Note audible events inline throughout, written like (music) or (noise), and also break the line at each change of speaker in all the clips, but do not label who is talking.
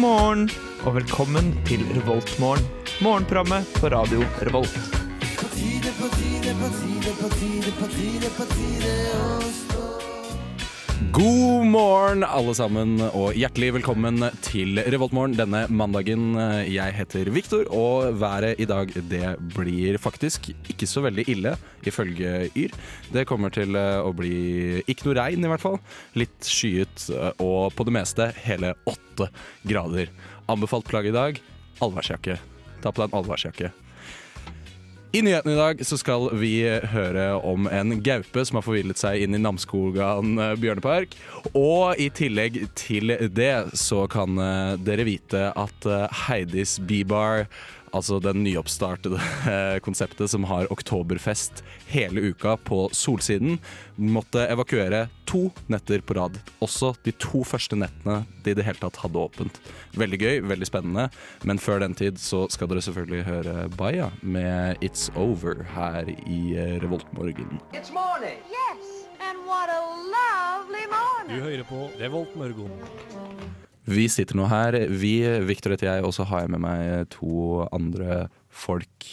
morgen og velkommen til Revoltmorgen. Morgenprogrammet på radio Revolt.
God morgen, alle sammen, og hjertelig velkommen til Revoltmorgen denne mandagen. Jeg heter Viktor, og været i dag det blir faktisk ikke så veldig ille, ifølge Yr. Det kommer til eh, å bli ikke noe regn, i hvert fall. Litt skyet, eh, og på det meste hele åtte grader. Anbefalt plagg i dag allværsjakke. Ta på deg en allværsjakke. I nyhetene i dag så skal vi høre om en gaupe som har forvillet seg inn i Namsskogan eh, bjørnepark. Og i tillegg til det så kan eh, dere vite at eh, Heidis Beebar, altså den nyoppstartede eh, konseptet som har oktoberfest hele uka på Solsiden, måtte evakuere to netter på rad. Også de to første nettene de i det hele tatt hadde åpent. Veldig gøy, veldig spennende. Men før den tid så skal dere selvfølgelig høre Baya med It's Over her i eh, Revoltmorgen.
It's morning.
Yes, and what a lovely morning.
hører på Revolt Mørgon.
Vi sitter nå her. Vi, Victor heter jeg, og så har jeg med meg to andre folk.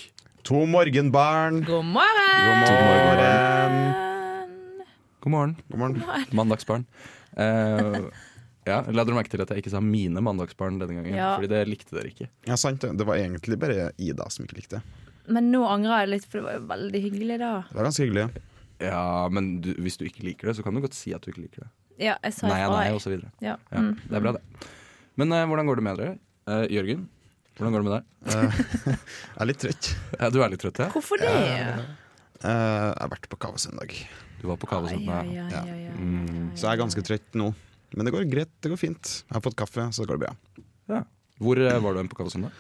To morgenbarn.
God morgen!
God morgen.
morgen.
God morgen,
God morgen.
mandagsbarn. Eh, ja, La dere merke til at jeg ikke sa mine mandagsbarn denne gangen,
Ja.
fordi det likte dere ikke.
Ja, sant det. Det var egentlig bare Ida som ikke likte det.
Men nå angrer jeg litt, for det var jo veldig hyggelig da.
Det var ganske hyggelig.
Ja, Men du, hvis du ikke liker det, så kan du godt si at du ikke liker det.
Ja, jeg sa
Nei,
ifra.
nei,
jeg.
og så videre.
Ja.
Ja, Det er bra, det. Men eh, hvordan går det med dere? Eh, Jørgen, hvordan går det med deg?
Jeg er litt trøtt.
Ja, du er litt trøtt, ja?
Mm. Hvorfor det?
Eh, jeg har vært på kaos en dag,
Du var på kave sånn.
Ja,
ja. Mm.
ja, ja, ja.
så jeg er ganske trøtt nå. Men det går greit. Det går fint. Jeg har fått kaffe, så det går bra.
Ja. Hvor eh, var du hen på Kavasund, da?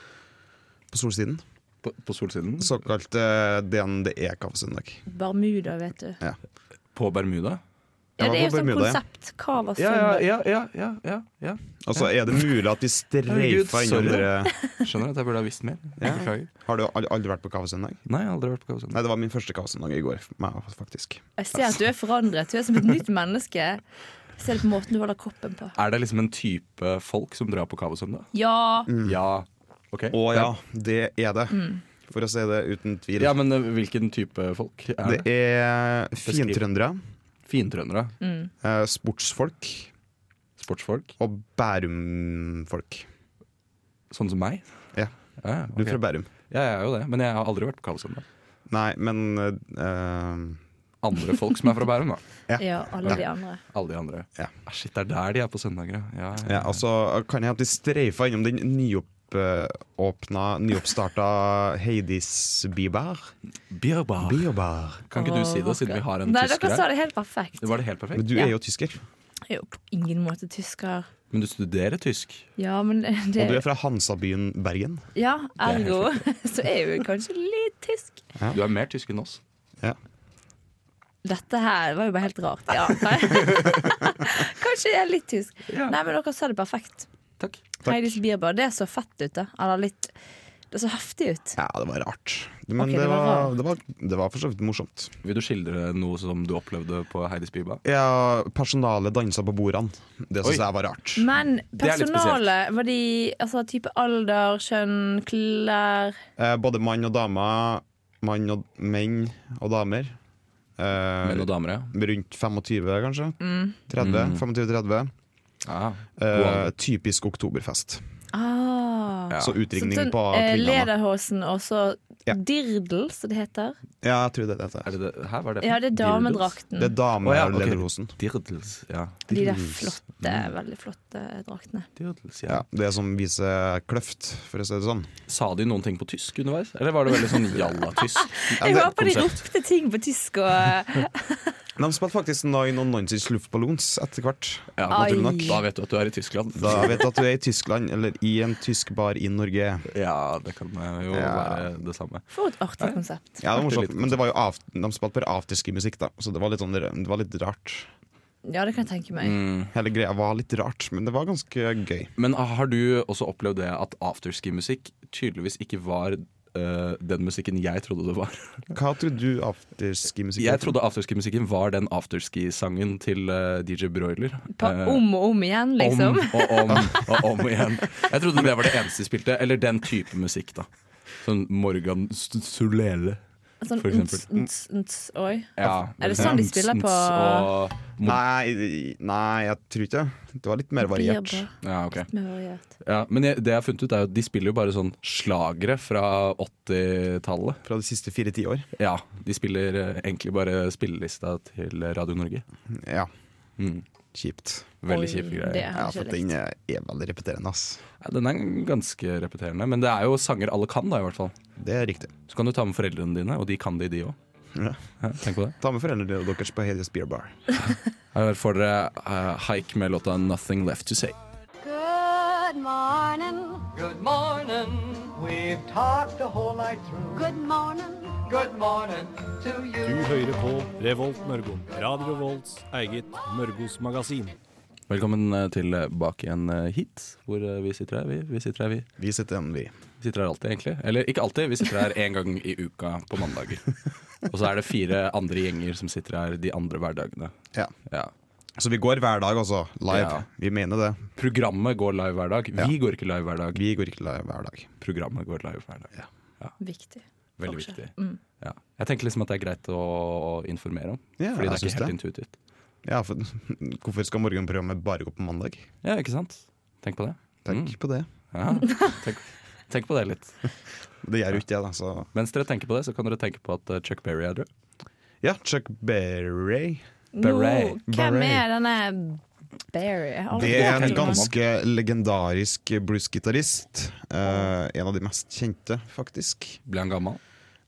På Solsiden.
På, på Solsiden?
Såkalt eh, DNDE-kaffesøndag.
Barmuda, vet du.
Ja.
På Bermuda?
Ja,
Jeg var
det er jo
på
sånn
Bermuda, ja.
konsept. altså. Hva var
Ja, ja,
søndag?
ja. ja, ja, ja, ja.
Og så er det mulig at vi
Herregud,
streifa
sorry.
innom dere.
Skjønner at jeg burde ha visst mer. Jeg
Ja.
Beklager.
Har du al- aldri vært på kaffesøndag?
Nei, jeg har aldri vært på Kavasund.
Nei, det var min første kaffesøndag i går, f- meg, faktisk.
Jeg ser at du er forandret. Du er som et nytt menneske. Jeg ser det på måten du holder kroppen på.
Er det liksom en type folk som drar på Kavasund, da?
Ja,
Ja. Ok.
Mm. Å ja, det er det. For å si det uten tvil.
Mm. Ja, men eh, hvilken type folk er
det
det?
er
Beskriv.
fintrøndere,
Fintrøndere?
eh, sportsfolk
Sportsfolk?
og Bærum-folk.
Sånn som meg?
Ja.
Ja,
Du
ok.
er fra Bærum?
ja, jeg er jo det, men jeg har aldri vært på Kavasund. da.
Nei, men eh,
Andre folk som er fra Bærum, da.
ja alle de andre.
Alle de andre.
Ja.
Ah, shit, det er der de er på søndager, ja. ja,
ja, altså kan jeg at vi streifa innom den nyoppåpna, nyoppstarta Heidis Bieber.
Bierbar.
Bieber.
Kan ikke du si det, siden vi har en
Nei,
tysker
Dere sa
her?
det helt perfekt.
Det var det helt perfekt.
Men du
Ja.
er jo tysker,
Jeg er jo på ingen måte tysker.
Men du studerer tysk?
Ja, men det,
og du er fra Hansabyen Bergen.
Ja,
er helt
ergo (laughs) så er jeg jo kanskje litt tysk.
Du er mer tysk enn oss.
Ja.
Dette her var jo bare helt
(laughs)
rart. Ja. Kanskje (laughs) jeg er litt tysk.
Ja.
Nei, men dere sa det perfekt.
Takk.
Heidis Bierbar, det så fett ut, da. Eller litt Det så heftig ut.
Ja, det var rart. Men
Ok,
det,
det var
var,
rart.
det, var, det var for så vidt morsomt.
Vil du skildre noe som du opplevde på Heidis Biba?
Ja, personalet dansa på bordene. Det
Oi.
syns jeg var rart.
Men
Det er litt
personalet, var de altså type alder, kjønn, klær
Eh, både mann og dame, mann og menn og damer. Eh,
Menn og damer, ja.
rundt 25, kanskje. 30, 25-30.
Ah,
Eh,
god alder.
typisk oktoberfest.
Ah.
Ja.
Så utringning
Sånn,
på
eh,
kvinnene.
Lederhosen og så
Ja.
dirdel, som det heter.
Ja, jeg tror det er det. det
er
er.
det det? Hæ, hva er det?
Ja, det er damedrakten.
Det er dame-
Å ja,
og
ok.
lederhosen.
Dirdels, ja.
De der
Dirdels.
flotte,
Mm.
veldig flotte draktene.
Dirdels, ja.
Ja, det som viser kløft, for å si det sånn.
Sa de noen ting på tysk underveis? Eller var det veldig sånn jalla-tysk?
men
(laughs) Jeg
det-
håper de
konsept.
ropte ting på tysk og eh,
De spilte faktisk Nine og Nonsense Luftballons etter hvert.
Ja,
Ai.
naturlig nok. Da vet du at du er i Tyskland.
Da vet du at du er i Tyskland, eller i en tysk bar i Norge.
(laughs) Ja, det kan eh, jo
Ja.
være det samme.
For et artig konsept.
Ja, det var morsomt, Men det var jo av, de spilte bare afterski-musikk, da, så det var, litt sånn, det var litt rart.
Ja, det kan jeg tenke meg.
Mm,
Hele greia var litt rart, men det var ganske gøy.
Men har du også opplevd det at afterski-musikk tydeligvis ikke var eh, den musikken jeg trodde det var.
Hva trodde du afterski-musikk
Jeg trodde afterski-musikken var den afterski-sangen til eh, DJ Broiler.
På,
Eh,
om og om igjen,
Om
liksom.
og om og om igjen. Jeg trodde det var det eneste de spilte. Eller den type musikk, da. Sånn Morgan S- Sulele.
Sånn
for eksempel.
nts, nts, nts, oi.
Ja,
Er det sånn de spiller på-
og Mo-
Nei, nei, jeg tror ikke det. Det var litt mer variert.
Bieber,
ja, ok.
med variert.
ja, Men jeg, det jeg har funnet ut, er jo at de spiller jo bare sånn slagere fra 80-tallet.
Fra de siste fire tiår.
Ja, de spiller eh, egentlig bare spillelista til Radio Norge.
Ja,
Mm.
kjipt.
Veldig
Oi,
kjipe
det
greier.
er
Ja,
ikke
for
lett.
den er er veldig repeterende, ass.
Ja, den er ganske repeterende, men det er jo sanger alle kan, da, i hvert fall.
Det er riktig.
Så kan du ta med foreldrene dine, og de kan de, de òg.
Ja.
Tenk på det.
Ta med foreldrene deres på Hades Beer Bar.
Her får dere eh, Hike med låta 'Nothing Left To Say'.
Good morning.
Good morning. We've talked the whole night through.
Good morning.
Good morning to you.
Du hører på Revolt Mørgo. Radio Revolts eget Mørgos magasin.
Velkommen eh, tilbake igjen eh, hit, hvor eh, vi sitter her. Vi, vi sitter her, vi.
Vi sitter igjen, vi.
Vi sitter her alltid, egentlig. Eller ikke alltid, vi sitter her én gang i uka på
(laughs)
mandager. Og så er det fire andre gjenger som sitter her de andre hverdagene.
Ja.
Ja.
Så vi går hver dag, altså. Live.
Ja.
Vi mener det.
Programmet går live hver dag. Vi går ikke live hver dag.
Vi går ikke live hver dag.
Programmet går live hver dag.
Viktig.
Veldig
Forskjell.
viktig.
Mm.
Ja. Jeg tenker liksom at det er greit å informere om,
Ja,
fordi det
jeg
er
syns
ikke helt
det.
intuitivt.
Ja, for, (laughs) hvorfor skal morgenprogrammet bare gå på mandag?
Ja, ikke sant? Tenk på det.
Tenk
Mm.
på det. (laughs)
Ja. Tenk, tenk på det litt.
Det gjør jo ikke jeg, da. Så.
Mens dere tenker på det, så kan dere tenke på at eh, Chuck Berry er død.
Ja, Chuck Berry.
Beret.
Nå, hvem
Beret.
er denne Barry? Jeg har aldri
Det er en
hørt om han.
ganske legendarisk bluesgitarist. Eh, en av de mest kjente, faktisk.
Ble han gammel?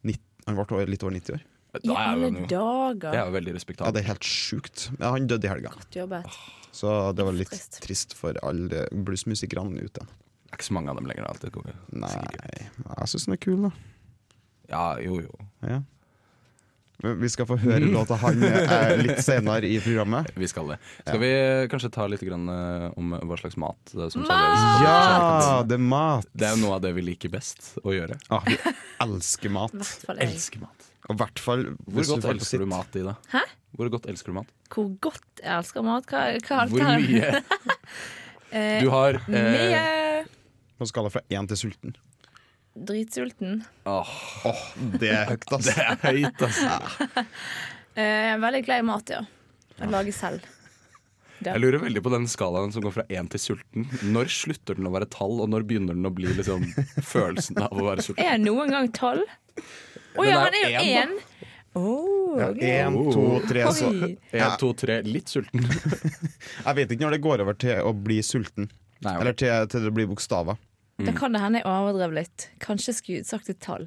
Nitt- han ble over- litt over 90 år.
Da
I
er jo han
alle
jo-
dager!
Det er jo veldig
Ja, Det
respektabelt.
er helt sjukt. Ja, han døde i helga,
Godt jobbet.
så det var litt
Trist.
trist, for alle bluesmusikerne ute.
Det er ikke så mange av dem lenger. da. Alt det går jo
Nei,
sikkert greit.
jeg syns den er kul, da.
Ja, jo, jo.
Ja. Men Vi skal få høre låta han eh, litt senere i programmet.
Vi skal det. Skal vi uh, kanskje ta litt grann, eh, om hva slags mat eh, som
Mat!
serveres?
Ja, det er mat!
Det er jo noe av det vi liker best å gjøre.
Ah, vi elsker mat.
I hvert fall jeg.
Elsker mat.
Og i hvert fall
Hvor godt elsker du mat, Ida?
Hæ?
Hvor godt elsker du mat?
Hvor godt jeg elsker mat. Hva, hva
Hvor mye? Du har
Eh, (laughs) Mye!
eh,
På en skala fra én til sulten.
Dritsulten.
åh,
Åh, det er høyt, ass.
(laughs) Det er høyt, altså.
Eh, veldig glad i mat, ja. Jeg lager selv. Ja.
Jeg lurer veldig på den skalaen som går fra én til sulten. Når slutter den å være tall, og når begynner den å bli
(laughs)
liksom, følelsen av å være sulten?
Er jeg noen gang tolv? Å ja, han
Den
er
er
jo
jo
én! Åh, ok.
Én, to, tre, så
Oi.
Én, to, tre, litt sulten.
Jeg vet ikke når det går over til å bli sulten.
Nei, ok.
Eller til, til det blir bokstaver.
Da kan det hende jeg overdrev litt. Kanskje skulle sagt et tall.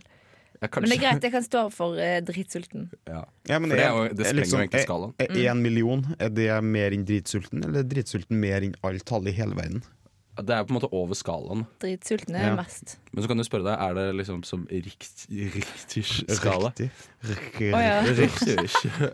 Ja,
Men det er
kanskje.
greit, jeg kan stå for eh, dritsulten.
Ja.
Ja, men
For det, er jo, det
en- er
sprenger
liksom-
jo egentlig skalaen.
Er én million er det mer enn dritsulten, eller er dritsulten mer enn alt tallet i hele verden?
Det er på en måte over skalaen.
Dritsulten er
Ja.
mest.
Men så kan du spørre deg, er det liksom som rikt, riktig skala?
Riktig. Riktig.
Å ja.
Riktig.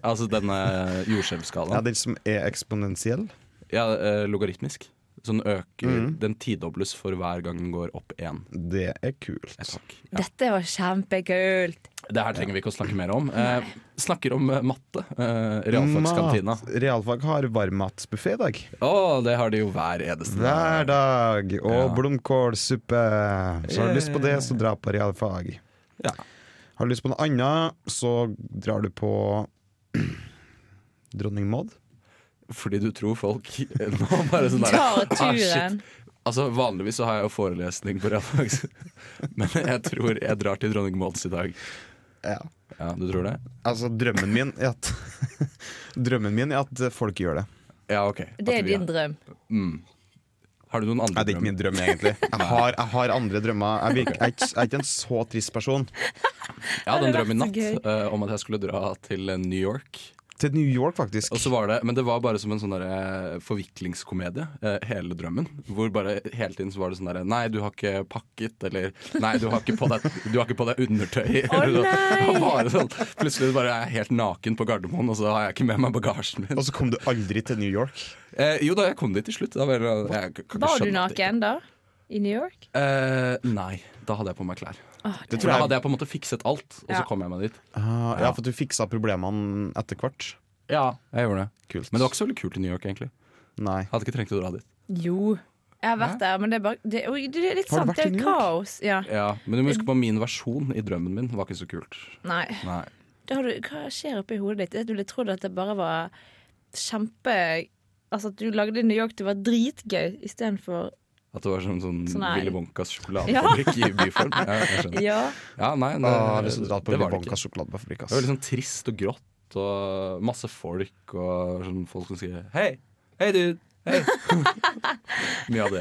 altså denne
Ja,
jordskjelvskalaen.
den som er eksponentiell.
Ja, eh, logaritmisk. Så den øker
Mm.
Den tidobles for hver gang den går opp én.
Det er kult.
Takk.
Dette var kjempekult!
Det her trenger vi ikke å snakke mer om. Eh, snakker om eh, matte. Eh, realfagskantina.
Mat. Realfag har varmmatsbuffé i dag.
Å, det har de jo hver eneste
Hver dag. Og
Ja.
blomkålsuppe. Så har du lyst på det, så dra på realfag.
Ja.
Har du lyst på noe annet, så drar du på (clears throat) Dronning Maud.
Fordi du tror folk (laughs) nå bare sånn der
Tar
«Ah, shit,
turen.
Altså, Vanligvis så har jeg jo forelesning på realfags, (laughs) men jeg tror jeg drar til Dronning Mauds i dag.
Ja.
Ja, Du tror det?
Altså, drømmen min er at (laughs) Drømmen min er at folk gjør det.
Ja, ok.
Det
At
er
vi-
din drøm.
Har du noen andre
Nei, det er ikke min drøm, egentlig. (laughs) Jeg har, jeg har andre drømmer. Jeg, virker, jeg, er ikke- jeg er ikke en så trist person.
Jeg hadde en
Det hadde
drøm i
vært så
natt eh, om at jeg skulle dra til eh, New York.
Til New York, faktisk.
Og så var det, Men det var bare som en sånn der, eh, forviklingskomedie, eh, hele drømmen. Hvor bare hele tiden så var det sånn derre Nei, du har ikke pakket, eller Nei, du har ikke på deg, du har ikke på deg undertøy.
Å,
eller
nei!
Og bare sånn, plutselig bare er jeg helt naken på Gardermoen, og så har jeg ikke med meg bagasjen min.
Og så kom du aldri til New York.
Eh, jo da, jeg kom dit til slutt. Da var jeg, jeg, kan ikke
Var du
skjønne at jeg ikke-
naken da? I New York?
Eh, nei, da hadde jeg på meg klær.
Det
For da
tror
hadde
jeg,
jeg på en måte fikset alt, og
Ja.
så kom jeg meg dit.
ah, ja, for du fiksa problemene etter hvert.
Ja, jeg gjorde det
Kult.
Men det var ikke så veldig kult i New York, egentlig.
Nei.
Jeg hadde ikke trengt å dra dit.
Jo. Jeg har vært der, men det er, bare, det, oi, det er litt
Har du
sant.
vært
Det
i
er
New York?
kaos. Ja.
Ja, men du må huske på min versjon i drømmen min var ikke så kult.
Nei.
Nei.
Da har du, hva skjer oppi hodet ditt? Du ville trodd at det bare var kjempe Altså at du lagde New York, det var dritgøy istedenfor
At det var sånn, sånn,
Sånn er-
Willy Wonkas sjokoladefabrikk i byform. Ja, jeg skjønner.
Ja.
Ja, nei, det,
Ah, jeg har lyst til å dra på
det var det
Bonkas
ikke.
sjokoladefabrikk.
Det var
ass.
litt sånn trist og grått og masse folk og sånn folk som sier hei, hei du, hei. (laughs) Mye av det.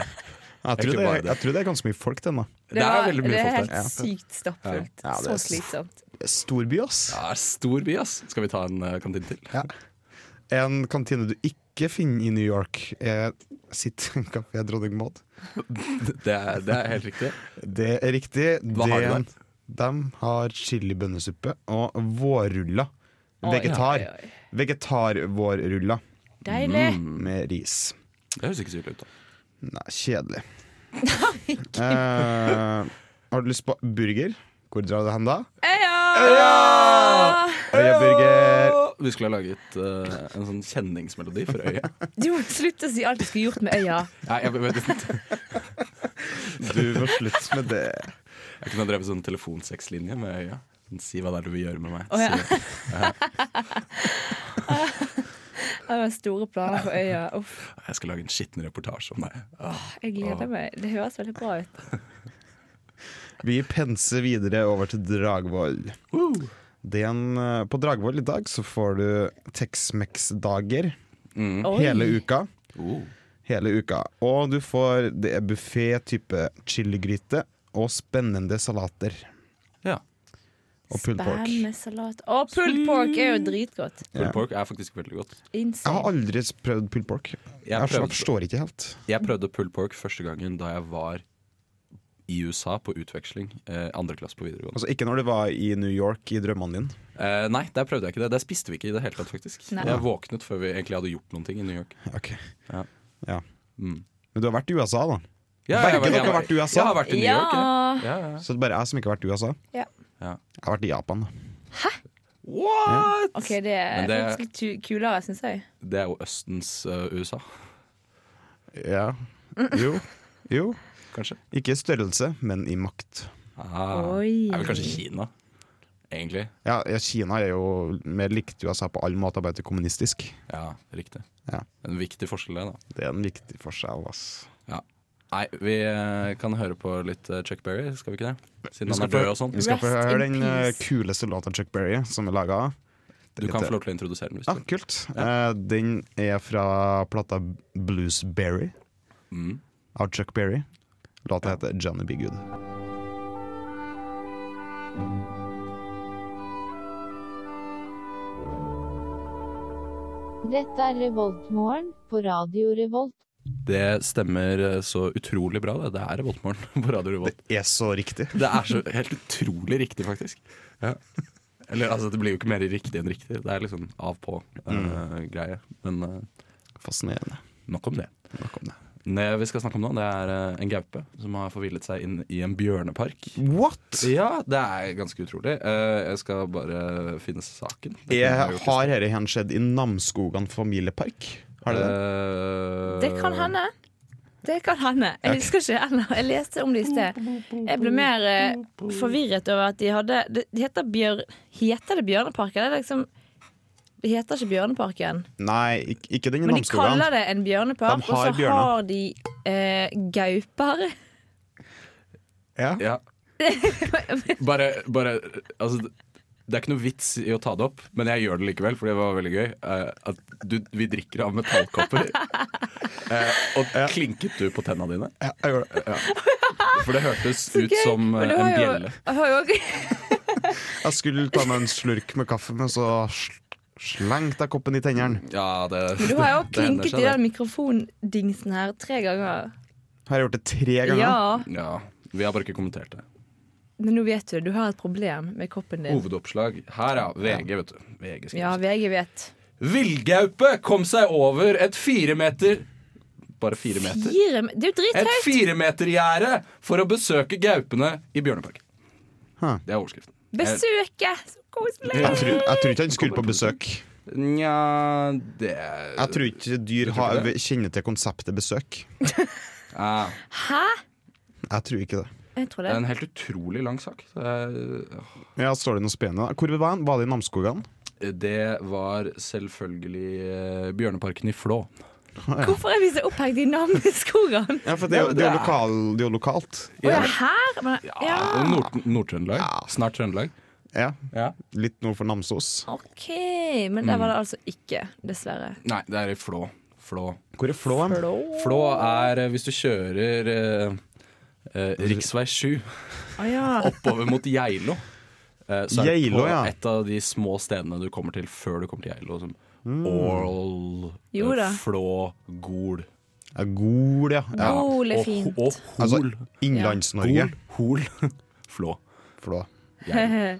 ikke
Jeg tror det,
bare det.
jeg tror det er ganske mye folk den, da.
Det, er
var-
veldig mye
det er
folk der.
helt sykt stappfullt.
Ja. Ja, det er
Så
s-
slitsomt.
Storby, ass.
Det er stor by, ass. Skal vi ta en eh, kantine til?
En kantine du ikke finner i New York, er sitt (laughs) kafé Dronning Maud.
(laughs) Det er, det er helt riktig.
Det er riktig.
Hva har de der?
De har chilibønnesuppe og vårruller.
Oi,
Vegetar.
oi, oi.
Vegetarvårruller
Deilig.
Mm. med ris.
Det høres ikke så ille ut. da.
Nei,
(laughs)
kjedelig. Eh, har du lyst på burger? Hvor drar du hen da?
Ja!
Øyaburger.
Vi skulle ha laget eh, en sånn kjenningsmelodi for øyet.
Du må slutte å si alt du skulle gjort med øya.
Nei, jeg, jeg, jeg,
Du må slutte med det.
jeg kunne ha drevet sånn telefonsexlinje med øya. Sånn, Si hva det er du vil gjøre med meg.
Å, ja.
Si-
Jeg har store planer for øya. Uff,
Jeg skal lage en skitten reportasje om deg.
jeg gleder meg. Det høres veldig bra ut.
Vi penser videre over til Dragvoll. Det er en, eh, på Dragvoll i dag så får du Tex-Mex-dager
Oi.
Mm. hele uka.
Oh.
Hele uka. Og du får det er buffé type chiligryte og spennende salater.
Ja.
Og pulled pork.
Spam med salat. Å, pulled pork er jo dritgodt.
Pulled
Ja.
pork er faktisk veldig godt.
Jeg har
Insane.
aldri prøvd pulled pork. Jeg,
Jeg prøvde-
forstår ikke helt.
Jeg prøvde pulled pork første gangen da jeg var i USA på utveksling. Eh, andre klasse på videregående.
Altså Ikke når du var i New York i drømmene dine.
Eh, nei, der prøvde jeg ikke det. Der spiste vi ikke i det hele tatt, faktisk.
Nei.
Jeg våknet før vi egentlig hadde gjort noen ting i New York.
Ok
Ja.
Ja.
Mm.
Men du har vært i USA, da.
Ja, jeg var-
Begge dere
jeg
har
var-
vært i USA?
Jeg har vært i New York. jeg.
Ja.
Ja, ja.
Så det er bare jeg som ikke har vært i USA.
Ja.
Ja.
Jeg har vært i Japan. da
What?!
OK, det er
Men det-
faktisk litt tu- kulere, syns jeg.
Det er jo Østens eh, USA,
Ja. Jo. Jo.
kanskje.
Ikke i størrelse, men i makt.
Ah.
Oi.
Det er vel kanskje Kina, egentlig.
Ja, ja, Kina er jo mer likt USA på alle måter, bare til kommunistisk.
Ja, riktig.
Ja.
En viktig forskjell, det, da.
Det er en viktig forskjell, ass.
Ja. Nei, vi eh, kan høre på litt eh, Chuck Berry, skal vi ikke det? Siden
Vi
han
skal
er
få-
død og sånn.
Vi skal få
Rest
høre
in
den eh,
peace.
kuleste låta Chuck Berry som er laga.
Du kan få lov til å introdusere den. hvis
eh, Ja,
du vil.
kult. Eh, den er fra plata Bluesberry
Mm.
av Chuck Berry. Låta heter Johnny Be Good.
Dette er Revoltmorgen på Radio Revolt.
Det stemmer eh, så utrolig bra, det. Det er Revoltmorgen (laughs) på Radio Revolt.
Er så riktig.
Det er så helt utrolig riktig, faktisk. Ja. Eller altså, det blir jo ikke mer riktig enn riktig. Det er liksom av-på-greie. Men eh,
Fascinerende.
nok om det.
Nok om det.
Det vi skal snakke om nå, det er eh, en gaupe som har forvillet seg inn i en bjørnepark.
What?!
Ja, det er ganske utrolig. Eh, Jeg skal bare finne saken. Det kunne
Jeg
jeg gjort i
har dette hen skjedd i Namsskogan familiepark? Har det det?
Eh,
Det kan hende. Det kan hende. Jeg husker ikke heller. Jeg leste om det i sted. Jeg ble mer eh, forvirret over at de hadde Det det heter, bjør, heter det Bjørneparken? Det, er liksom, det heter ikke Bjørneparken,
Nei, ik- ikke den i
men de
Namsskogan.
kaller det en bjørnepark.
De har
Og så
bjørner.
har de eh, gauper. (laughs)
Ja.
Ja. Bare, bare Altså, det er ikke noe vits i å ta det opp, men jeg gjør det likevel, for det var veldig gøy. eh, At du, vi drikker av
(laughs)
metallkopper. Eh, Og klinket du på tenna dine?
Ja, jeg gjorde det.
For det hørtes ut
Ah, Gøy.
som eh,
Men du
en
har jo-
bjelle.
har jo
(laughs)
også-
Jeg skulle ta meg en slurk med kaffe, men så sl- slengte jeg koppen i tennene.
Ja, det,
(laughs) Du har jo også
(laughs) det hender
klinket
seg,
i
det.
den mikrofondingsen her tre ganger.
Har jeg gjort det tre ganger?
Ja,
Ja, vi har bare ikke kommentert det.
men nå vet du det. Du har et problem med koppen din.
Hovedoppslag. Her, ja. VG, vet du. VG skriver
Ja, VG vet.
Villgaupe kom seg over et fire meter bare fire meter.
Fire, me- det er jo
Et
drithøyt!
firemetergjerde for å besøke gaupene i Bjørneparken.
Huh.
Det er overskriften.
Besøke! Så koselig!
Jeg tror, jeg tror ikke han skulle på besøk.
Nja det
Jeg tror ikke dyr har, kjenner til konseptet besøk.
Ja,
Hæ?
Jeg tror ikke det.
Jeg tror
Det
det.
er en helt utrolig lang sak. eh, Det er-
Ja, Står det noe spennende? da? Hvor var han? Var det i Namsskogan?
Det var selvfølgelig eh, Bjørneparken i Flå.
Hvorfor er vi så opphengt i navnet i skogen?
Ja, for det, er jo- det er jo lokal- det er jo lokalt.
Å ja, her? Men, ja.
Nord- Nord-Trøndelag.
Ja.
Snart Trøndelag.
Ja,
Ja.
Litt nord for Namsos.
OK. Men der var det altså ikke, dessverre.
Nei, det er i Flå. Flå.
Hvor er Flå? hen?
Flå er eh, hvis du kjører eh, eh, rv. 7
Å ja.
oppover mot Geilo. eh, så er
Geilo,
det på
ja.
et av de små stedene du kommer til før du kommer til Geilo. Som
Mm.
Ål, eh,
Jo da.
Flå, Gol.
Ja, Gol, ja. ja.
Gol er
Og, ho-
fint.
og Hol.
Altså Innlands-Norge.
Hol. Hol. (laughs) Flå.
Flå.
(laughs)
Geilo.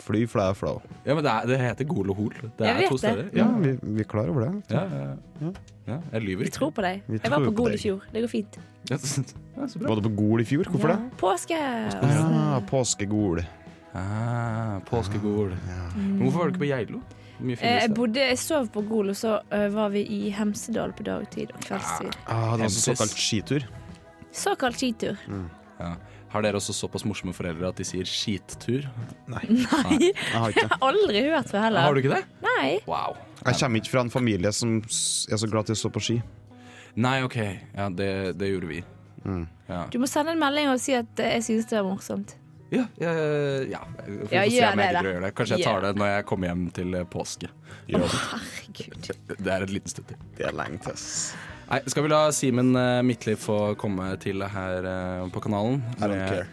Fly, flæ, flå.
Ja, men det, er, det heter Gol og Hol. Det
Jeg
er
vet
to
det.
steder.
Ja, vi, vi er klar over det.
Ja, ja, ja.
Mm.
ja, jeg lyver
Jeg tror
ikke.
på deg.
Vi
Jeg var
tror
på
på
Gol i
deg.
fjor. Det går fint.
(laughs) Ja, så bra.
Var det på Gol i fjor? Hvorfor det?
Påske!
Ja, Påskegol.
Ah, påskegol.
Ah,
Men hvorfor var du ikke på Geilo? Mye
Eh,
finere
Jeg,
sted.
bodde, jeg sov på Gol, og så eh, var vi i Hemsedal på dagtid og kveldstid.
Ah, det var altså
Hemses.
såkalt skitur.
Såkalt skitur.
Ja. Har dere også såpass morsomme foreldre at de sier skittur?
Nei,
Jeg, har
(laughs) jeg
ikke.
har aldri hørt det heller.
Har du ikke det?
Nei.
Wow.
jeg kommer ikke fra en familie som s- er så glad til å stå på ski.
Nei, OK. Ja, det, det gjorde vi.
Du må sende en melding og si at eh, jeg synes det var morsomt.
Ja, jeg, ja. Vi får
Ja,
se
gjør
om jeg
det,
gidder å
da.
gjøre det. Kanskje jeg
Gjør
tar det når jeg kommer hjem til eh, påske.
Herregud.
Det er et liten stund til.
Det er lenge til. ass.
Nei, skal vi la Simen eh, Midtliv få komme til her eh, på kanalen?
I don't care.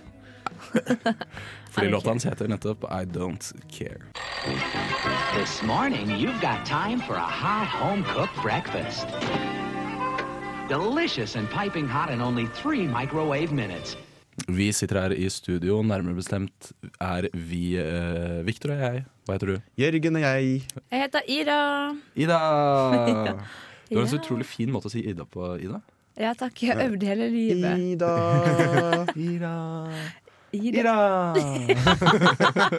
(laughs) Fordi
I don't
låta
care.
hans heter nettopp I Don't Care.
This morning, you've got time for a hot home cooked breakfast. Delicious and piping hot in only three microwave minutes.
Vi sitter her i studio, nærmere bestemt er vi eh, Victor og jeg. Hva heter du?
Jørgen og jeg.
Jeg heter Ida.
Ida!
(laughs)
Du har en så utrolig fin måte å si Ida på, Ida.
Ja takk, jeg har øvd hele
(laughs)
livet.
Ida.
Ida
Ida.
Ida!
(laughs)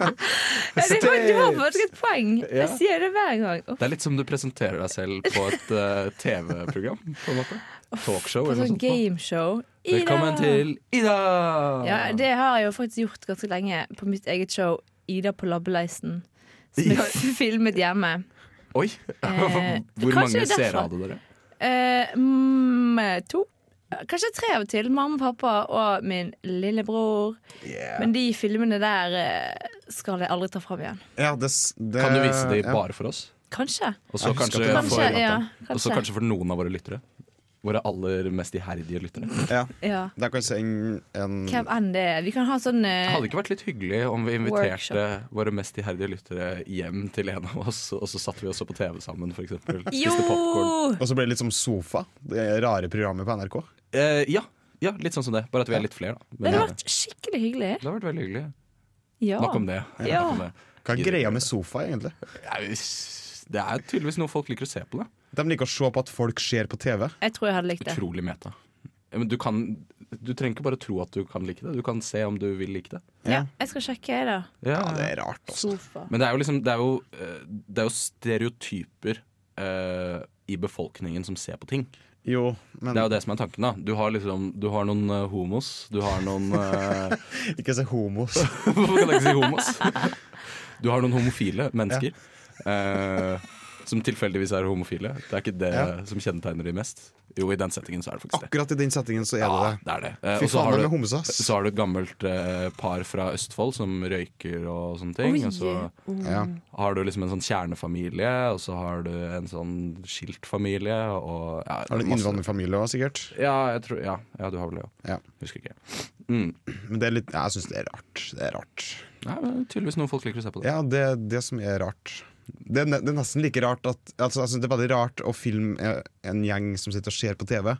Ja, det var, du har faktisk et poeng. Jeg
Ja.
sier det hver gang. Uff,
Det er litt som du presenterer deg selv på et eh, TV-program. på en måte Talkshow
På
eller noe
sånn
sånt. nå.
gameshow. Ida!
Velkommen til Ida!
Ja, det har jeg jo faktisk gjort ganske lenge på mitt eget show Ida på labbeleisen. Som
Ja.
jeg f- (laughs) filmet hjemme.
Oi! (laughs)
Eh,
Hvor
kanskje det
mange
er derfor.
seere hadde dere?
Eh, mm, to. Kanskje tre av og til. Mamma, pappa og min lillebror. Men de filmene der eh, skal jeg aldri ta fram igjen.
Ja, det, s- det,
Kan du vise de
Eh, ja.
bare for oss?
Kanskje.
Og så
Jeg husker
kanskje,
at det-
for,
Kanskje, ja,
Og så
kanskje.
kanskje for noen av våre lyttere. Våre aller mest iherdige
Mm.
lyttere.
Ja,
Ja.
da kan jeg sende en
Hvem enn det er. Vi kan ha sånn eh,
Hadde Mm. det ikke vært litt hyggelig om vi inviterte
Workshop.
våre mest iherdige lyttere hjem til en av oss, og så satt vi og så på TV sammen, f.eks.?
Jo!
Spiste popkorn.
Og så ble det litt som Sofa, det rare programmet på NRK.
Eh, ja, ja, litt sånn som det. Bare at vi er litt flere, da.
Det
Men,
hadde
eh,
vært skikkelig hyggelig.
det har vært veldig hyggelig.
Ja.
Nok om det.
Ja.
Nok om det.
Hva er greia med Sofa, egentlig?
Nei, s- Det er tydeligvis noe folk liker å se på. det
De liker å se på at folk ser på TV.
Jeg tror jeg hadde likt det.
Utrolig meta. Ja, Men du, kan, du trenger ikke bare tro at du kan like det, du kan se om du vil like det.
Ja, jeg skal sjekke, jeg, da.
Ja,
Ja, det er rart. Også.
Sofa.
Men det er jo liksom Det er jo, eh, det er jo stereotyper eh, i befolkningen som ser på ting.
Jo, men
Det er jo det som er tanken. da Du har liksom Du har noen eh, homos. Du har noen eh,
ikke
(laughs)
se homos.
Hvorfor kan jeg ikke si homos? Du har noen homofile mennesker. eh, som tilfeldigvis er homofile. Det er ikke det
Ja.
som kjennetegner de mest. Jo, i den settingen så er det faktisk det.
Akkurat i den settingen så er det
Ja,
det.
det er det. Eh,
Fy
og så
faen,
har
det
du-
med homse, ass.
Så har du et gammelt eh, par fra Østfold som røyker og sånne ting.
Oi.
Og så
Ja.
har du liksom en sånn kjernefamilie, og så har du en sånn skilt familie. Og, ja,
Har du en
masse-
innvandrerfamilie òg, sikkert?
Ja, jeg tror, ja, ja, du har vel det, ja.
Ja.
Husker ikke.
Men det er litt, jeg syns det er rart. Det er rart.
Nei, men tydeligvis noen folk liker å se på det.
Ja, det er det som er rart. Det er, ne- det er nesten like rart at altså, jeg synes Det er veldig rart å filme eh, en gjeng som sitter og ser på TV.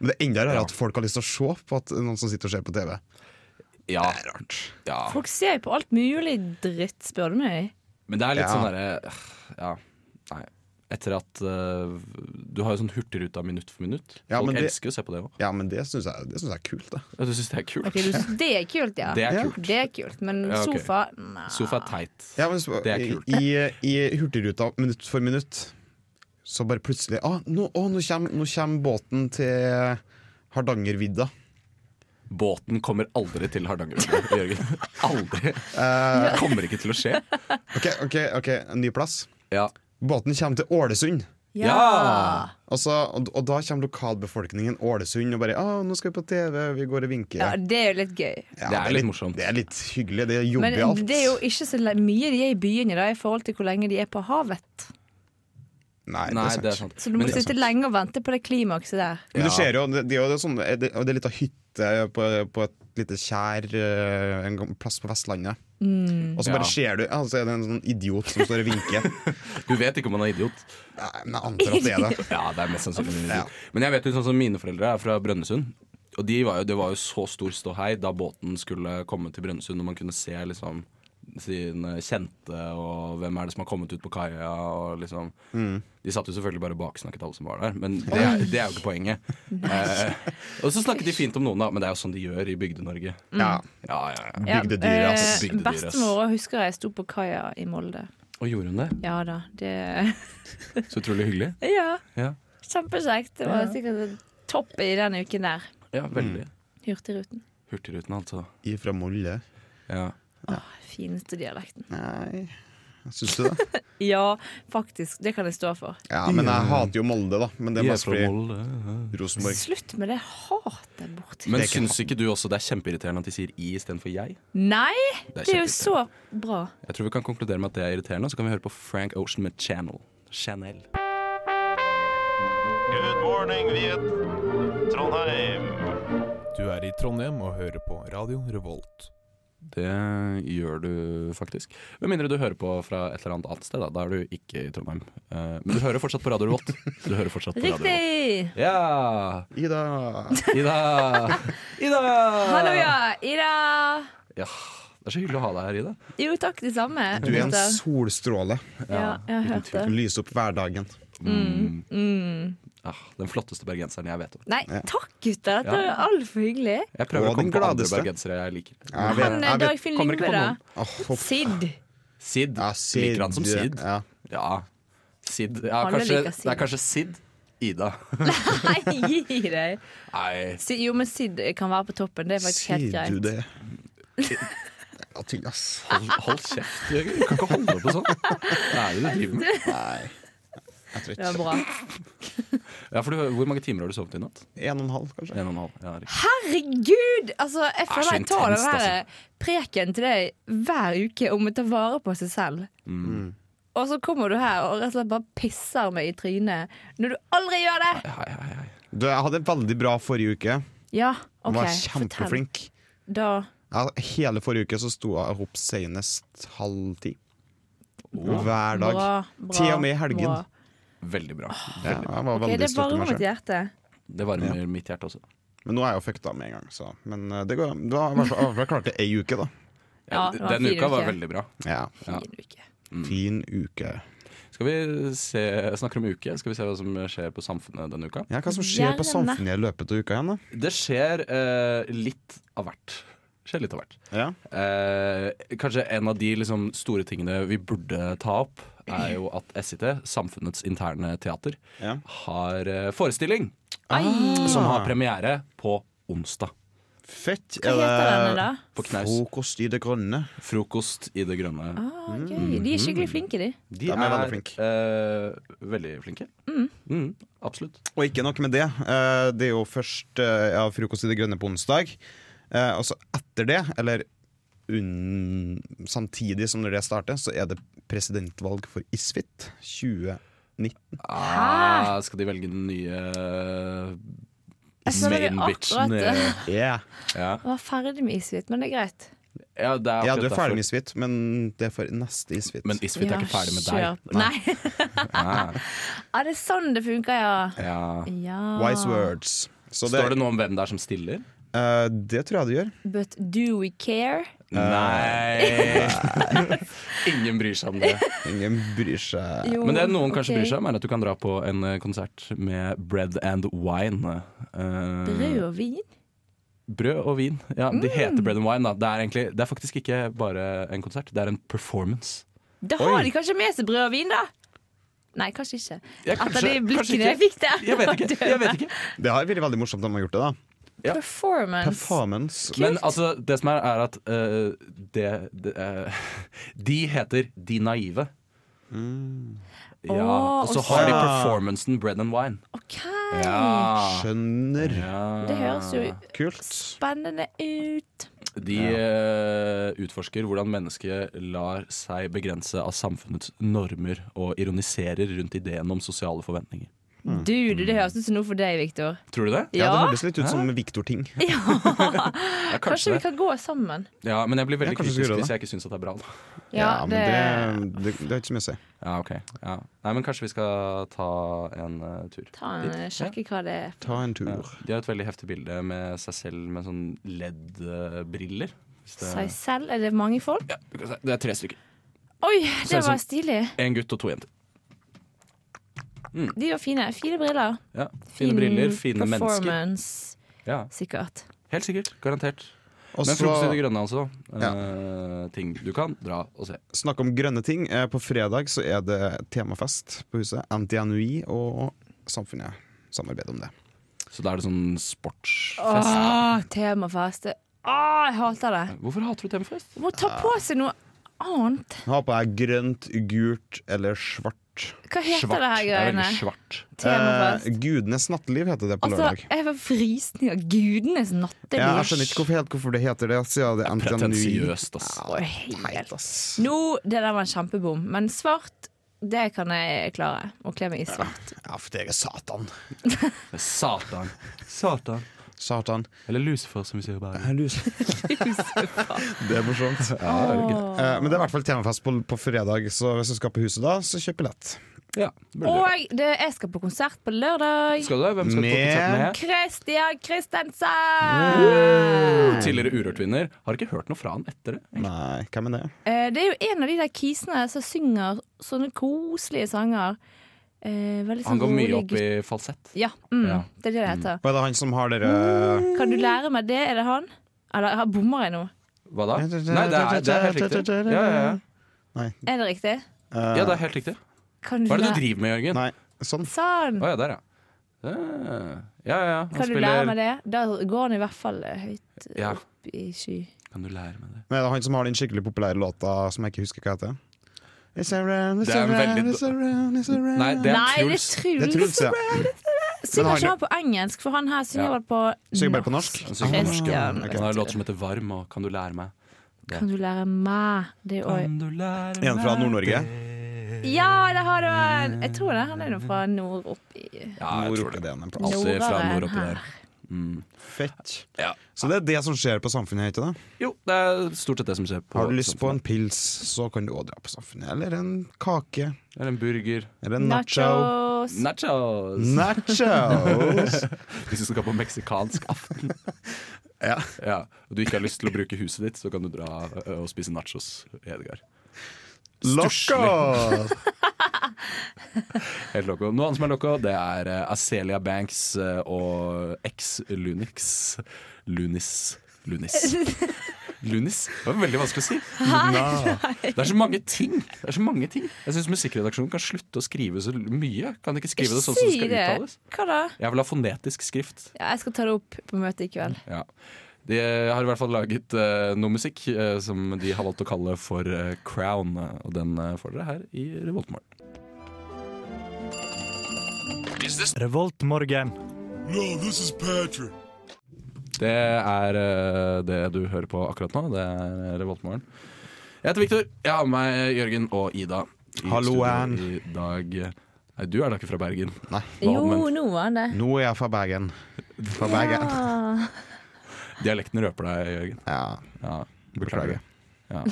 Men det er enda rarere
Ja.
at folk har lyst til å se på at noen som sitter og ser på TV.
Ja,
Det er rart.
ja.
Folk ser jo på alt mulig dritt, spør du meg.
Men det er litt
Ja.
sånn derre øh, Ja. Nei. etter at eh, Du har jo sånn Hurtigruta minutt for minutt.
Ja,
Folk
men det-
elsker jo å se på det òg.
Ja, men det syns jeg, det synes jeg er kult, da.
Du syns det er kult? (laughs)
Ok, du, det er kult, ja.
Det er
Ja.
kult.
Det er kult, men
Ja, ok.
sofa nei.
Sofa er teit.
Ja, men, så-
Det er kult.
I, i, I Hurtigruta minutt for minutt så bare plutselig ah, nå, å, nå, kommer, nå kommer båten til Hardangervidda.
Båten kommer aldri til Hardanger. Jørgen. Aldri.
Eh.
Kommer ikke til å skje.
Ok, ok, ok, en ny plass.
Ja.
Båten kommer til Ålesund.
Ja.
Ja.
Og, så, Altså, og, og da kommer lokalbefolkningen Ålesund og bare ah, 'Nå skal vi på TV, vi går og vinker'.
ja, det er jo litt gøy.
Ja,
Det er litt morsomt.
Det er litt hyggelig. Det er
Men
jovialt.
det er jo ikke så le- mye de er i byene da, i forhold til hvor lenge de er på havet.
Nei,
Nei,
det er sant.
Så du må
Men det er
sitte lenge og vente på det klimakset der.
Men
Ja.
du ser jo, det, det, er jo- det er sånn, det, og det er litt av hytte på, på et lite tjær eh, en gang- plass på Vestlandet.
Mm.
Og så
Ja.
bare ser du, ja, så er det en sånn idiot som står og
(laughs)
vinker.
sant. Du vet ikke om han er idiot.
Nei, men jeg antar at det er det.
Ja, det er mest sannsynlig en
Ja.
idiot. Men jeg vet jo sånn som mine foreldre er fra Brønnøysund. Og de var jo, det var jo så stor ståhei da båten skulle komme til Brønnøysund, og man kunne se liksom sine kjente og hvem er det som har kommet ut på kaia. Og liksom.
Mm.
De satt jo selvfølgelig bare og baksnakket alle som var der, men det er, det er jo ikke poenget. Eh, og så snakket de fint om noen, da, men det er jo sånn de gjør i Bygde-Norge.
Mm.
Ja.
Ja, ja, ja.
Ja,
Bygdedyret, ass.
eh,
Bygdedyret, ass.
Bestemor også husker jeg sto på kaia i Molde.
Og gjorde hun det?
Ja da, det (laughs)
Så utrolig hyggelig.
Ja,
Ja,
kjempekjekt. Det var sikkert topp i den uken der.
ja veldig.
Hurtigruten.
Mm. Hurtigruten, altså.
Ifra Molde.
Ja.
Fineste dialekten.
Nei, syns du det?
Ja, faktisk. Det kan jeg stå for.
Ja, men jeg hater jo Molde, da. Men det er
De er
mest
fra
fordi
Molde.
Rosenborg
Slutt med det hatet borti
Men
Det er ikke
syns ikke du også det er kjempeirriterende at de sier i istedenfor jeg?
Nei!
Det er
Det er jo så
kjempeirriterende.
bra.
Jeg tror vi kan konkludere med at det er irriterende, så kan vi høre på Frank Ocean med Channel. Chanel.
Good morning, Viet. Trondheim.
Du er i Trondheim og hører på Radio Revolt.
Det gjør du faktisk. Med mindre du hører på fra et eller annet annet sted, da. Da er du ikke i Trondheim. Eh, Men du hører fortsatt på Radio Revolt. Du hører fortsatt på Radio Revolt.
Riktig!
Ja!
Ida!
(laughs)
Ida! Ida!
Hallo, ja. Ida.
Ja, Det er så hyggelig å ha deg her, Ida.
Jo, takk, det samme.
Du er en
Peter.
solstråle.
Ja, jeg har hørt det.
Du lyser opp hverdagen.
Ja, Ah, den flotteste bergenseren jeg vet om.
Nei, takk, gutter. Dette er altfor hyggelig.
Jeg prøver
Og
å komme
den
på andre
gladeste.
bergensere jeg liker.
Jeg
Han eh,
jeg
Dagfinn
kommer ikke på
Lindberg, da.
noen.
Åh, hopp.
Sid. (laughs)
Sid.
Ja,
Liker han som Sid?
Ja.
Ja. Sid. Ja,
Alle
kanskje,
liker Sid.
Det er kanskje Sid. Ida.
Nei, gi deg.
Nei.
Sid, jo, men Sid kan være på toppen. Det er faktisk helt
Sier du
greit. (laughs)
det? Ja, tynn, ass.
Hold, hold kjeft. Jørgen. Du kan ikke holde på sånn. Hva er det du driver med?
Nei. Jeg tror
Det
ikke
var bra.
Ja, for du, hvor mange timer har du sovet i natt?
En og en halv, kanskje.
En og en halv. Ja, riktig.
Herregud! Altså, jeg føler
så
jeg tar den
intenst,
her preken til deg hver uke om å ta vare på seg selv. Og så kommer du her og rett og slett bare pisser meg i trynet når du aldri gjør det!
Hei, hei, hei.
Du, jeg hadde en veldig bra forrige uke.
Ja,
Jeg
OK.
var
Fortell.
kjempeflink.
Da
Ja, hele forrige uke så sto jeg opp senest halv ti. Hver dag.
Bra. bra
Til og med i helgen.
bra.
Veldig bra.
Ja, jeg var
Ok,
veldig
det
stolt av
varmer
meg
mitt
selv.
hjerte.
Det varmer mitt hjerte også.
Men nå er jeg jo fucka med en gang, så. Men eh, det går Det var i hvert fall i hvert fall klart det ei uke, da.
Ja, det var en
Den
fin
uka var
uke.
veldig bra.
Ja.
Ja.
Fin uke.
Mm.
Fin uke.
Skal vi se, jeg snakker om uke, skal vi se hva som skjer på samfunnet denne uka?
Ja, hva som skjer på
Gjerne.
samfunnet i løpet av uka igjen, da?
Det skjer eh, litt av hvert. Skjer litt av hvert.
Ja.
Eh, kanskje en av de liksom, store tingene vi burde ta opp, er jo at SIT, Samfunnets interne teater,
Ja.
har eh, forestilling
Ah,
som har premiere på onsdag.
Fett.
Hva heter denne, da?
På Knaus.
Frokost i det grønne.
Frokost i det grønne.
Ah, gøy. De er skikkelig flinke, de.
De
De er
er
veldig flinke.
eh, veldig flinke. Mm, absolutt.
Og ikke nok med det. eh, Det er jo først eh, ja, frokost i Det grønne på onsdag. Eh, Og så etter det, eller unn- samtidig som når det starter, så er det presidentvalg for Isfit 2019.
Ah, skal de velge den nye
Jeg føler det
main
akkurat
bitchen?
det.
eh,
Yeah.
(laughs) Ja.
Jeg var ferdig med Isvit, men det er greit.
Ja, det er
Ja, du er
akkurat
ferdig
derfor.
med Isfit, men det er for neste Isfit.
Men Isfit er
Ja,
ikke ferdig med
kjør
deg.
på. Nei.
Ah,
(laughs) Ja, det er sånn det funker, ja.
ja.
ja.
Wise words. Så det,
Står det noe om hvem det er som stiller?
eh, det tror jeg det gjør.
But do we care?
Nei. (laughs) Ingen bryr seg om det.
Ingen bryr seg.
Jo,
Men det noen kanskje
ok.
bryr seg om, er at du kan dra på en eh, konsert med bread and wine. Eh,
Brød Mm. og vin?
brød og vin. Ja, De heter bread and wine. Da. Det, er egentlig, det er faktisk ikke bare en konsert, det er en performance.
Da har
Oi.
de kanskje med seg brød og vin, da? Nei, kanskje ikke.
Ja,
Etter
kanskje-
de
kanskje
blikkene
ikke.
jeg fikk der.
Jeg vet ikke.
(laughs)
Jeg vet ikke.
Det har vært veldig morsomt om de har gjort det. da
Ja.
Performance.
Performance.
Men altså, det som er, er at eh, det, det eh, (laughs) De heter De naive. Ja,
Mm. Åh,
og så
og
har de
så-
performancen Bread and Wine.
OK.
Ja.
Skjønner.
Det høres jo
Kult.
spennende ut.
De eh, utforsker hvordan mennesket lar seg begrense av samfunnets normer og ironiserer rundt ideen om sosiale forventninger.
Du, det, det høres ut som noe for deg, Victor.
Tror du Mm. det?
Ja, Det
Ja?
høres litt ut som Viktor-ting.
Ja,
Kanskje
kanskje
vi
det.
kan gå sammen?
Ja, men jeg blir veldig
Ja, kanskje vi skal
kritisk
gjøre
hvis jeg ikke syns at det er bra. Da.
Ja, men det, det, det har ikke så mye å si.
Ja, ok. Ja. Nei, men kanskje vi skal ta en eh, tur.
Ta en eh, sjekke hva det er.
Ta en tur.
Ja. De har et veldig heftig bilde med seg selv med sånn LED-briller. Hvis det-
Seg selv? Er det mange folk?
Ja, du kan se. det er tre stykker.
Oi,
Ser ut
det
som-
var stilig.
En gutt og to jenter.
De var fine. Fine briller.
Ja, fine briller, fine mennesker.
performance,
Ja,
sikkert.
helt sikkert. Garantert.
Og
Men
så
Frokost i det grønne, altså. Eh, ting du kan dra og se.
snakk om grønne ting. Eh, På fredag så er det temafest på huset. NTNUI og Samfunnet samarbeider om det.
Så da er det sånn sportsfest.
Åh, temafest. Åh, Ah, jeg hater det.
Hvorfor hater du temafest?
Må ta
Ah.
på seg noe annet.
Ha på deg grønt, gult eller svart. Eh,
Hva heter det her
Det er
greiene?
veldig svart.
Temafest.
Gudenes natteliv heter det på
Altså,
lørdag.
jeg får frysninger. Gudenes natteliv.
Ja, jeg skjønner ikke hvorfor, helt hvorfor det heter det, siden det er
Sånn
NTNUI.
Pretensiøst, ass.
Åh, helt.
Ass.
Nå, det der var en kjempebom. Men svart, det kan jeg klare. Å kle meg i svart.
Ja, for det er Satan.
Satan. Satan.
Satan.
Eller lusefar, som vi sier i Bergen.
Det er morsomt. Eh, Men det er i hvert fall temafest på, på fredag, så hvis du skal på huset da, så kjøp billett.
Ja, det burde du.
Og det, jeg skal på konsert på lørdag.
Skal du det? Hvem skal du på konsert med?
Christian Christensen!
Tidligere Urørt-vinner. Har ikke hørt noe fra han etter det.
Nei, hvem er det?
Eh, Det er jo en av de der kisene som synger sånne koselige sanger. Eh, veldig sånn
Han går mye
rolig
opp i falsett.
Ja, mm,
Ja.
det er det det heter.
Hva er det han som har dere
Kan du lære meg det? Er det han? Eller har- bommer jeg nå?
Hva da? Nei, det er, det er helt riktig. Ja, ja, ja.
Er det riktig?
ja, det er helt riktig.
Kan du
Hva er det
lære-
du driver med, Jørgen?
eh, Nei, sånn.
Sånn!
Å ja, der, ja. Eh, Ja, ja, ja. Han
Kan du lære meg det? Da går han i hvert fall eh, høyt
Ja.
opp i sky.
Kan du lære meg det?
Men er det han som har den skikkelig populære låta som jeg ikke husker hva heter? It's around, it's
Det er
around,
veldig-
it's around, it's around.
Nei, det
Nei,
er
det
Truls.
er
Det er
Truls.
Truls, ja.
Synger
Men
ikke
han-
han på engelsk, for han her synger
Ja.
vel på
Synger bare på norsk.
Han synger på norsk, ja.
Christian,
Han har en låt som heter Varm, og Kan du lære meg?
Kan du lære meg det òg?
Kan du lære
En fra Nord-Norge.
Ja, der har du han! Jeg tror det. Han er nå fra nord oppi
Ja, jeg tror det.
Nord-Oppi-DNA.
Alltid fra
Nordere
nord oppi
her.
der.
Fett.
Ja.
Så det er det som skjer på Samfunnet, heter det.
Jo, det er stort sett det som skjer på
Har du lyst på en pils, så kan du òg dra på Samfunnet. Eller en kake.
Eller en burger.
Eller en nacho.
Nachos.
Nachos!
Nachos!
(laughs) Hvis du skal på meksikansk aften.
(laughs) Ja.
ja. Og du ikke har lyst til å bruke huset ditt, så kan du dra ø, og spise nachos i Edgar.
Loco!
Helt loco. Noe annet som er loco, det er eh, Acelia Banks eh, og ex-Lunix. Lunis. Lunis. Lunis. Det var veldig vanskelig å si. Det er så mange ting. Det er så mange ting. Jeg syns musikkredaksjonen kan slutte å skrive så mye. Kan de ikke skrive det sånn som det skal uttales?
Hva da?
Jeg vil ha fonetisk skrift.
Ja, jeg skal ta det opp på møtet i kveld.
Ja. De har i hvert fall laget eh, noe musikk eh, som de har valgt å kalle for eh, Crown. eh, Og den eh, får dere her i Revoltmorgen.
Revoltmorgen.
Det er eh, det du hører på akkurat nå. Det er Revoltmorgen. Jeg heter Viktor. Jeg har med meg Jørgen og Ida. i
Halloen.
studio I dag. Nei, du er da ikke fra Bergen?
Nei.
Hva
Jo,
om en-
nå var han det.
Nå er jeg fra Bergen. Fra Bergen.
Ah,
Dialekten røper deg, Jørgen.
Ja.
Ja,
Beklager.
Ja.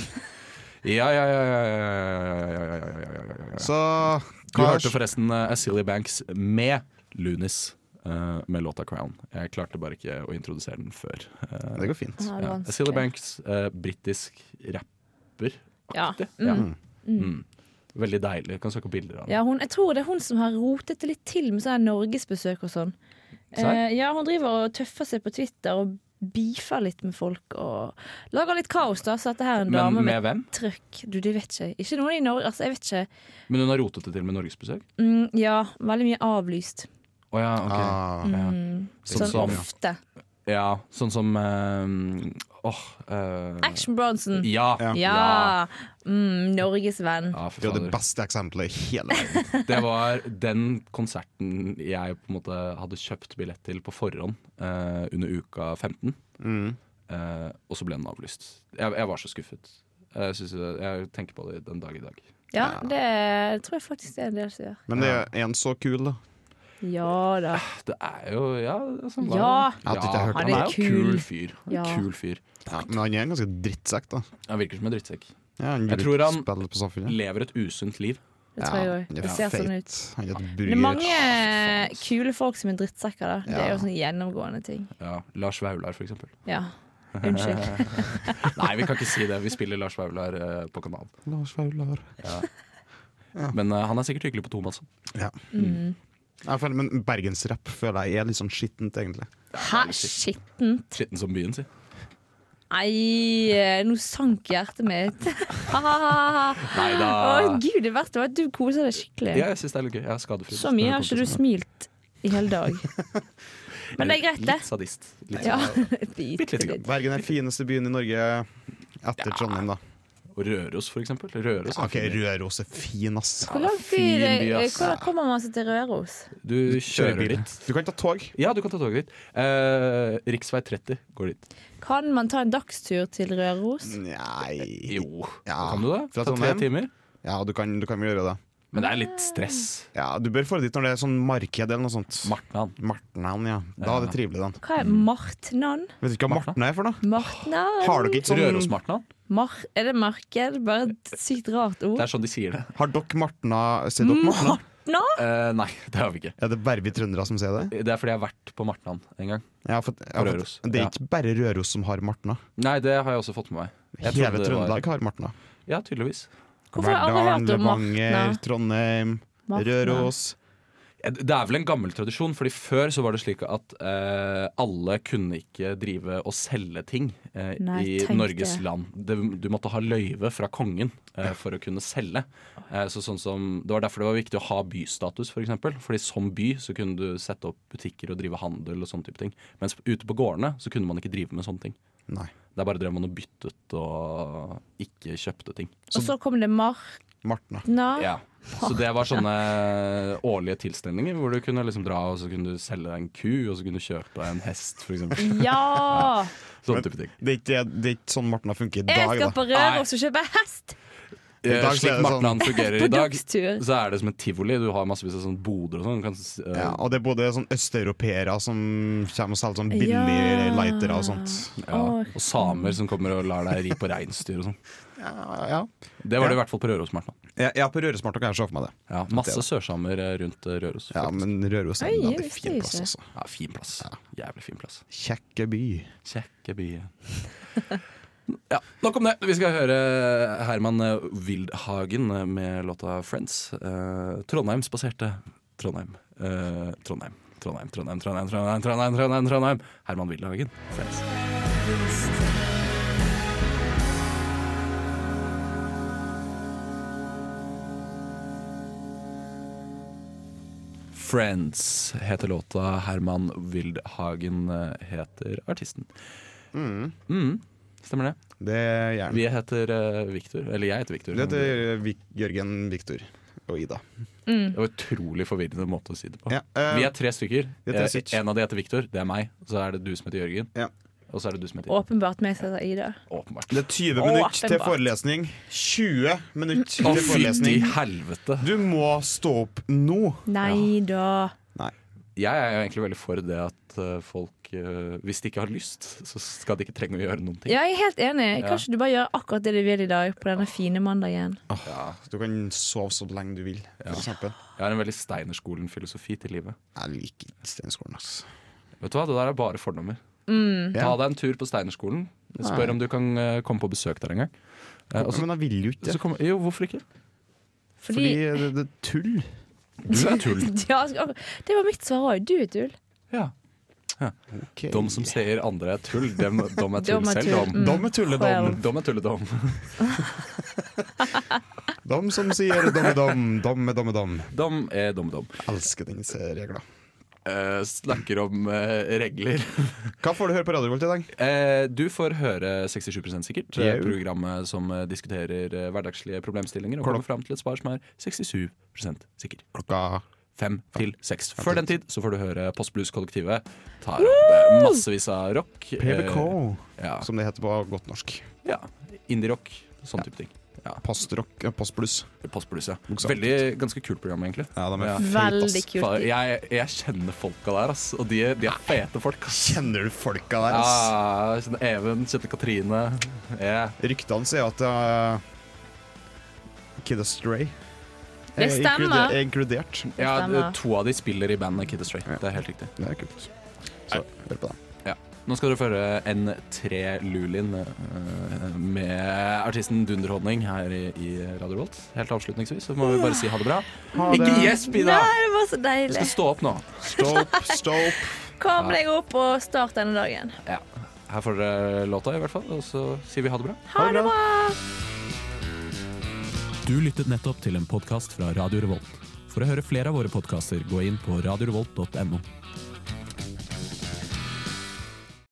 Ja, ja, ja, ja, ja, ja, ja, ja, ja, ja, ja, ja.
Så
Du hørte forresten eh, Acelia Banks med Lunis. eh, med låta 'Crown'. Jeg klarte bare ikke å introdusere den før. Eh,
Det går fint.
Ja, det er
ja.
vanskelig.
Cilla Banks, eh, britisk rapper.
Ja.
Ja.
Mm.
Mm. Veldig deilig. Kan søke opp bilder av den.
Ja, hun, jeg tror det er hun som har rotet det litt til med sånne norgesbesøk og sånn.
Serr?
Eh, ja, hun driver og tøffer seg på Twitter og beefer litt med folk og lager litt kaos, da. Så dette her er en
Men
dame
med
med,
hvem?
trøkk. Du, det vet ikke jeg. Ikke noen i Norge, altså. Jeg vet ikke.
Men hun har rotet det til med norgesbesøk?
Mm, ja, veldig mye avlyst.
Å ja, ok.
Ah,
Ja.
Sånn
Sånn som,
ofte.
ja, sånn som eh, Åh eh,
Action Bronson.
Ja!
Ja.
ja.
Mm, Norges venn.
Ja,
det
fy
er jo det
fader.
beste eksempelet i hele (laughs) verden.
Det var den konserten jeg på en måte hadde kjøpt billett til på forhånd eh, under uka 15.
Mm.
Eh, og så ble den avlyst. Jeg, jeg var så skuffet. Jeg, synes, det- jeg tenker på det den dag i dag.
Ja, det tror jeg faktisk det er en del som gjør.
Men det er en så kul, da.
Ja da.
Det er jo Ja! Altså, hva-
Ja.
Jeg hadde ikke hørt
om
han er
det.
jo en kul fyr. Han er en
Ja.
Kul fyr.
Ja, men han er en ganske drittsekk, da.
Han virker som en drittsekk.
Ja, han
Jeg tror han-
spiller på samfunnet.
Lever et usunt liv.
Det tror jeg òg.
han er
Det ser sånn
feit.
ut.
Han er et
Det er mange
bryr.
kule folk som er drittsekker. Da. Det er
Ja.
jo sånn gjennomgående ting.
Ja, Lars Vaular, for eksempel.
Ja.
(laughs)
Unnskyld.
Nei, vi kan ikke si det. Vi spiller Lars Vaular eh, på kanalen.
Lars Vaular.
Men eh, han er sikkert hyggelig på tom, altså.
Ja.
Mm.
Jeg føler, men bergensrapp føler jeg er litt sånn skittent, egentlig.
Hæ, skittent?
Skitten som byen, si.
Nei, eh, nå sank hjertet mitt. (laughs) Nei
Neida.
Å gud, det verste var at du koser deg skikkelig.
Ja, jeg syns det er litt gøy. Jeg er skadefri.
Så mye har ikke du smilt i hele
(laughs)
dag. Men det er greit, det.
Litt sadist. Litt
Ja, (laughs)
sadist.
bitte
grann.
litt.
Bergen er den fineste byen i Norge etter Trondheim, da.
Og Røros, for eksempel. Røros er
OK,
fin.
Røros er fin, ass.
Hvor lang
Fin
tid
by, ass.
Hvordan kommer man seg til Røros?
Du
Kjører
kjører
bil.
litt.
Du kan ta tog.
Ja, du kan ta toget dit. Eh, Riksvei 30 går dit.
Kan man ta en dagstur til
Mm.
Røros?
Nei
Jo,
Ja,
kan du det?
fra
Ta tre
Trondheim.
timer.
Ja, du kan, du kan vel gjøre det.
Men det er litt stress.
Ja, Du bør få det dit når det er sånn marked eller noe sånt.
Martnan.
Martnan, ja. Da er det trivelig, den.
Hva er Martnan?
Vet du ikke hva Martna er for noe?
Martnan?
Har dere ikke sånn
Røros-Martnan.
Mar er det marked? Bare et sykt rart ord.
Det er sånn de sier det.
Har dere Martna Ser dere Martna?
Nå?
Eh, nei, (laughs) det har vi ikke.
Er det bare vi trøndere som sier det?
Det er fordi jeg har vært på Martnan en gang.
Ja, for, ja, for,
Røros.
Det er ikke bare Røros som har Martna.
Nei, det har jeg også fått med meg. Jeg
Hele
trodde det var-
Trøndelag har Martna.
Ja, tydeligvis.
Hvorfor har jeg aldri hørt om
Levanger,
Martna?
Trondheim,
Martna.
Røros.
Det er vel en gammel tradisjon, fordi før så var det slik at eh, alle kunne ikke drive og selge ting eh,
Nei,
i
tenk
Norges
det.
land. Det, du måtte ha løyve fra kongen eh, for å kunne selge. Eh, så sånn som, det var derfor det var viktig å ha bystatus, f.eks. For eksempel. fordi som by så kunne du sette opp butikker og drive handel og sånne type ting. Mens ute på gårdene så kunne man ikke drive med sånne ting.
Nei.
Der bare drev man og byttet og ikke kjøpte ting.
Og så kom det Martna.
Martna.
Ah.
Ja. Så det var sånne årlige tilstelninger hvor du kunne liksom dra og så kunne du selge deg en ku, og så kunne du kjøpe deg en hest, for eksempel.
Ja!
Sånne type ting.
Det er ikke, det er ikke sånn Martna funker (laughs) i
Jeg
dag,
skal
da.
på Røros og kjøpe hest!
Eh,
dag så er
Slik
det sånn-
Martnan fungerer
På
i dag,
dagstur.
så er det som et tivoli. Du har massevis av sånne boder og sånn. Du kan s- eh,
Ja, og det er både sånn østeuropeere som kommer og selger sånn billige
Ja.
lightere og sånt.
ja. Og samer som kommer og lar deg ri på reinsdyr og sånn.
Ja, ja.
Det var det
Ja.
i hvert fall på Røros, Martnan.
Ja, ja, på Røros Martna kan jeg se for meg det.
Ja, masse sørsamer eh, rundt eh, Røros.
Ja,
faktisk.
men Røros er
Oi,
en
jeg
veldig
visste
fin
ikke.
plass, altså.
Ja, fin plass. Jævlig fin plass.
Kjekke by.
Kjekke byen. (laughs) Ja, Nok om det. Vi skal høre Herman Wildhagen med låta 'Friends'. Eh, Trondheim spaserte Trondheim. Eh, Trondheim. Trondheim, Trondheim, Trondheim, Trondheim, Trondheim, Trondheim, Trondheim. Herman Wildhagen, 'Friends'. Friends heter låta. Herman Wildhagen eh, heter artisten. Mm, Stemmer det.
Det er gjerne.
Vi heter uh, Victor. Eller jeg heter Victor.
Det heter Vik Jørgen, Viktor og Ida.
Det var utrolig forvirrende måte å si det på.
Ja, eh,
vi er tre stykker.
vi er tre
Eh,
stykker.
En av de heter Victor, det er meg. Så er det du som heter Jørgen.
Ja.
Og så er det du som heter
Åpenbart meg som heter Ida.
Åpenbart.
Det er 20
Å,
minutter til
åpenbart.
forelesning. 20 minutter
Å,
til
fytti
forelesning.
helvete!
Du må stå opp nå.
Nei da.
Nei.
jeg er jo egentlig veldig for det at eh, folk, eh, hvis de ikke har lyst, så skal de ikke trenge å gjøre noen ting.
Ja, jeg er helt enig.
Ja.
Kanskje du bare gjør akkurat det du vil i dag på denne fine mandagen.
Du kan sove så lenge du vil. For eksempel.
Jeg har en veldig Steinerskolen-filosofi til livet.
Jeg liker ikke Steinerskolen. ass.
Vet du hva, Det der er bare fordommer. Ta
Ja.
deg en tur på Steinerskolen. Spør om du kan eh, komme på besøk der en gang. Eh, og så,
Men jeg vil jo ikke
så
det.
kommer, jo, hvorfor (laughs) ikke?
Fordi
Fordi,
det, det er tull.
Du er tull.
(laughs) ja, ak- Det var mitt svar òg. Du er tull.
Ja.
Okay.
De som sier andre er tull, dem, dem er tull
Dem er
selv.
tull,
Dem.
mm.
Dom er tulledom.
Well.
Dom er tulledom.
Dom som sier dom er dom, dom er dom er dom.
Dom er dom-dom.
Elsker den serien.
Eh, snakker om eh, regler. (laughs)
Hva får du høre på Radio Volt i dag?
Eh, du får høre 67 sikkert. eh,
Jau.
Programmet som eh, diskuterer eh, hverdagslige problemstillinger og
Klokka-
kommer fram til et svar som er 67 sikker.
Klokka
Fem til seks.
Fem
Før
til
den tid så får du høre Postblues-kollektivet. Tar opp eh, massevis av rock.
PVK,
Eh, ja.
som det heter på godt norsk.
ja. Indie-rock. Sånn type ting.
Postrock, eh, postblues.
Postblues, ja.
Bokstavelig
Veldig, ganske kult program, egentlig.
Ja, de er
Ja.
fete, ass.
Veldig
Fader,
kult.
Jeg, jeg kjenner folka der, ass. Og de, de er fete folk. ass.
Kjenner du folka der, ass?
Ja, jeg kjenner Even, kjenner Katrine. Ja.
Ryktene sier at eh, Kid Astray
Det stemmer.
Er inkludert.
Ja,
Stemmer.
to av de spiller i bandet Kid Astray. Det er helt riktig.
Det er kult. Så hør på det.
Nå skal dere få høre N3 Lulin eh, med artisten Dunderhonning her i, i Radio Volt. Helt avslutningsvis så må vi bare si ha det bra. Ikke gjesp, Ida!
Nei, det var så
Du
deilig.
skal stå opp nå.
Stopp, stopp.
Kom deg opp og start denne dagen.
Ja. Her får dere låta, i hvert fall. Og så sier vi ha det bra.
Ha det bra!
Du lyttet nettopp til en podkast fra Radio Revolt. For å høre flere av våre podkaster, gå inn på radiorevolt.no.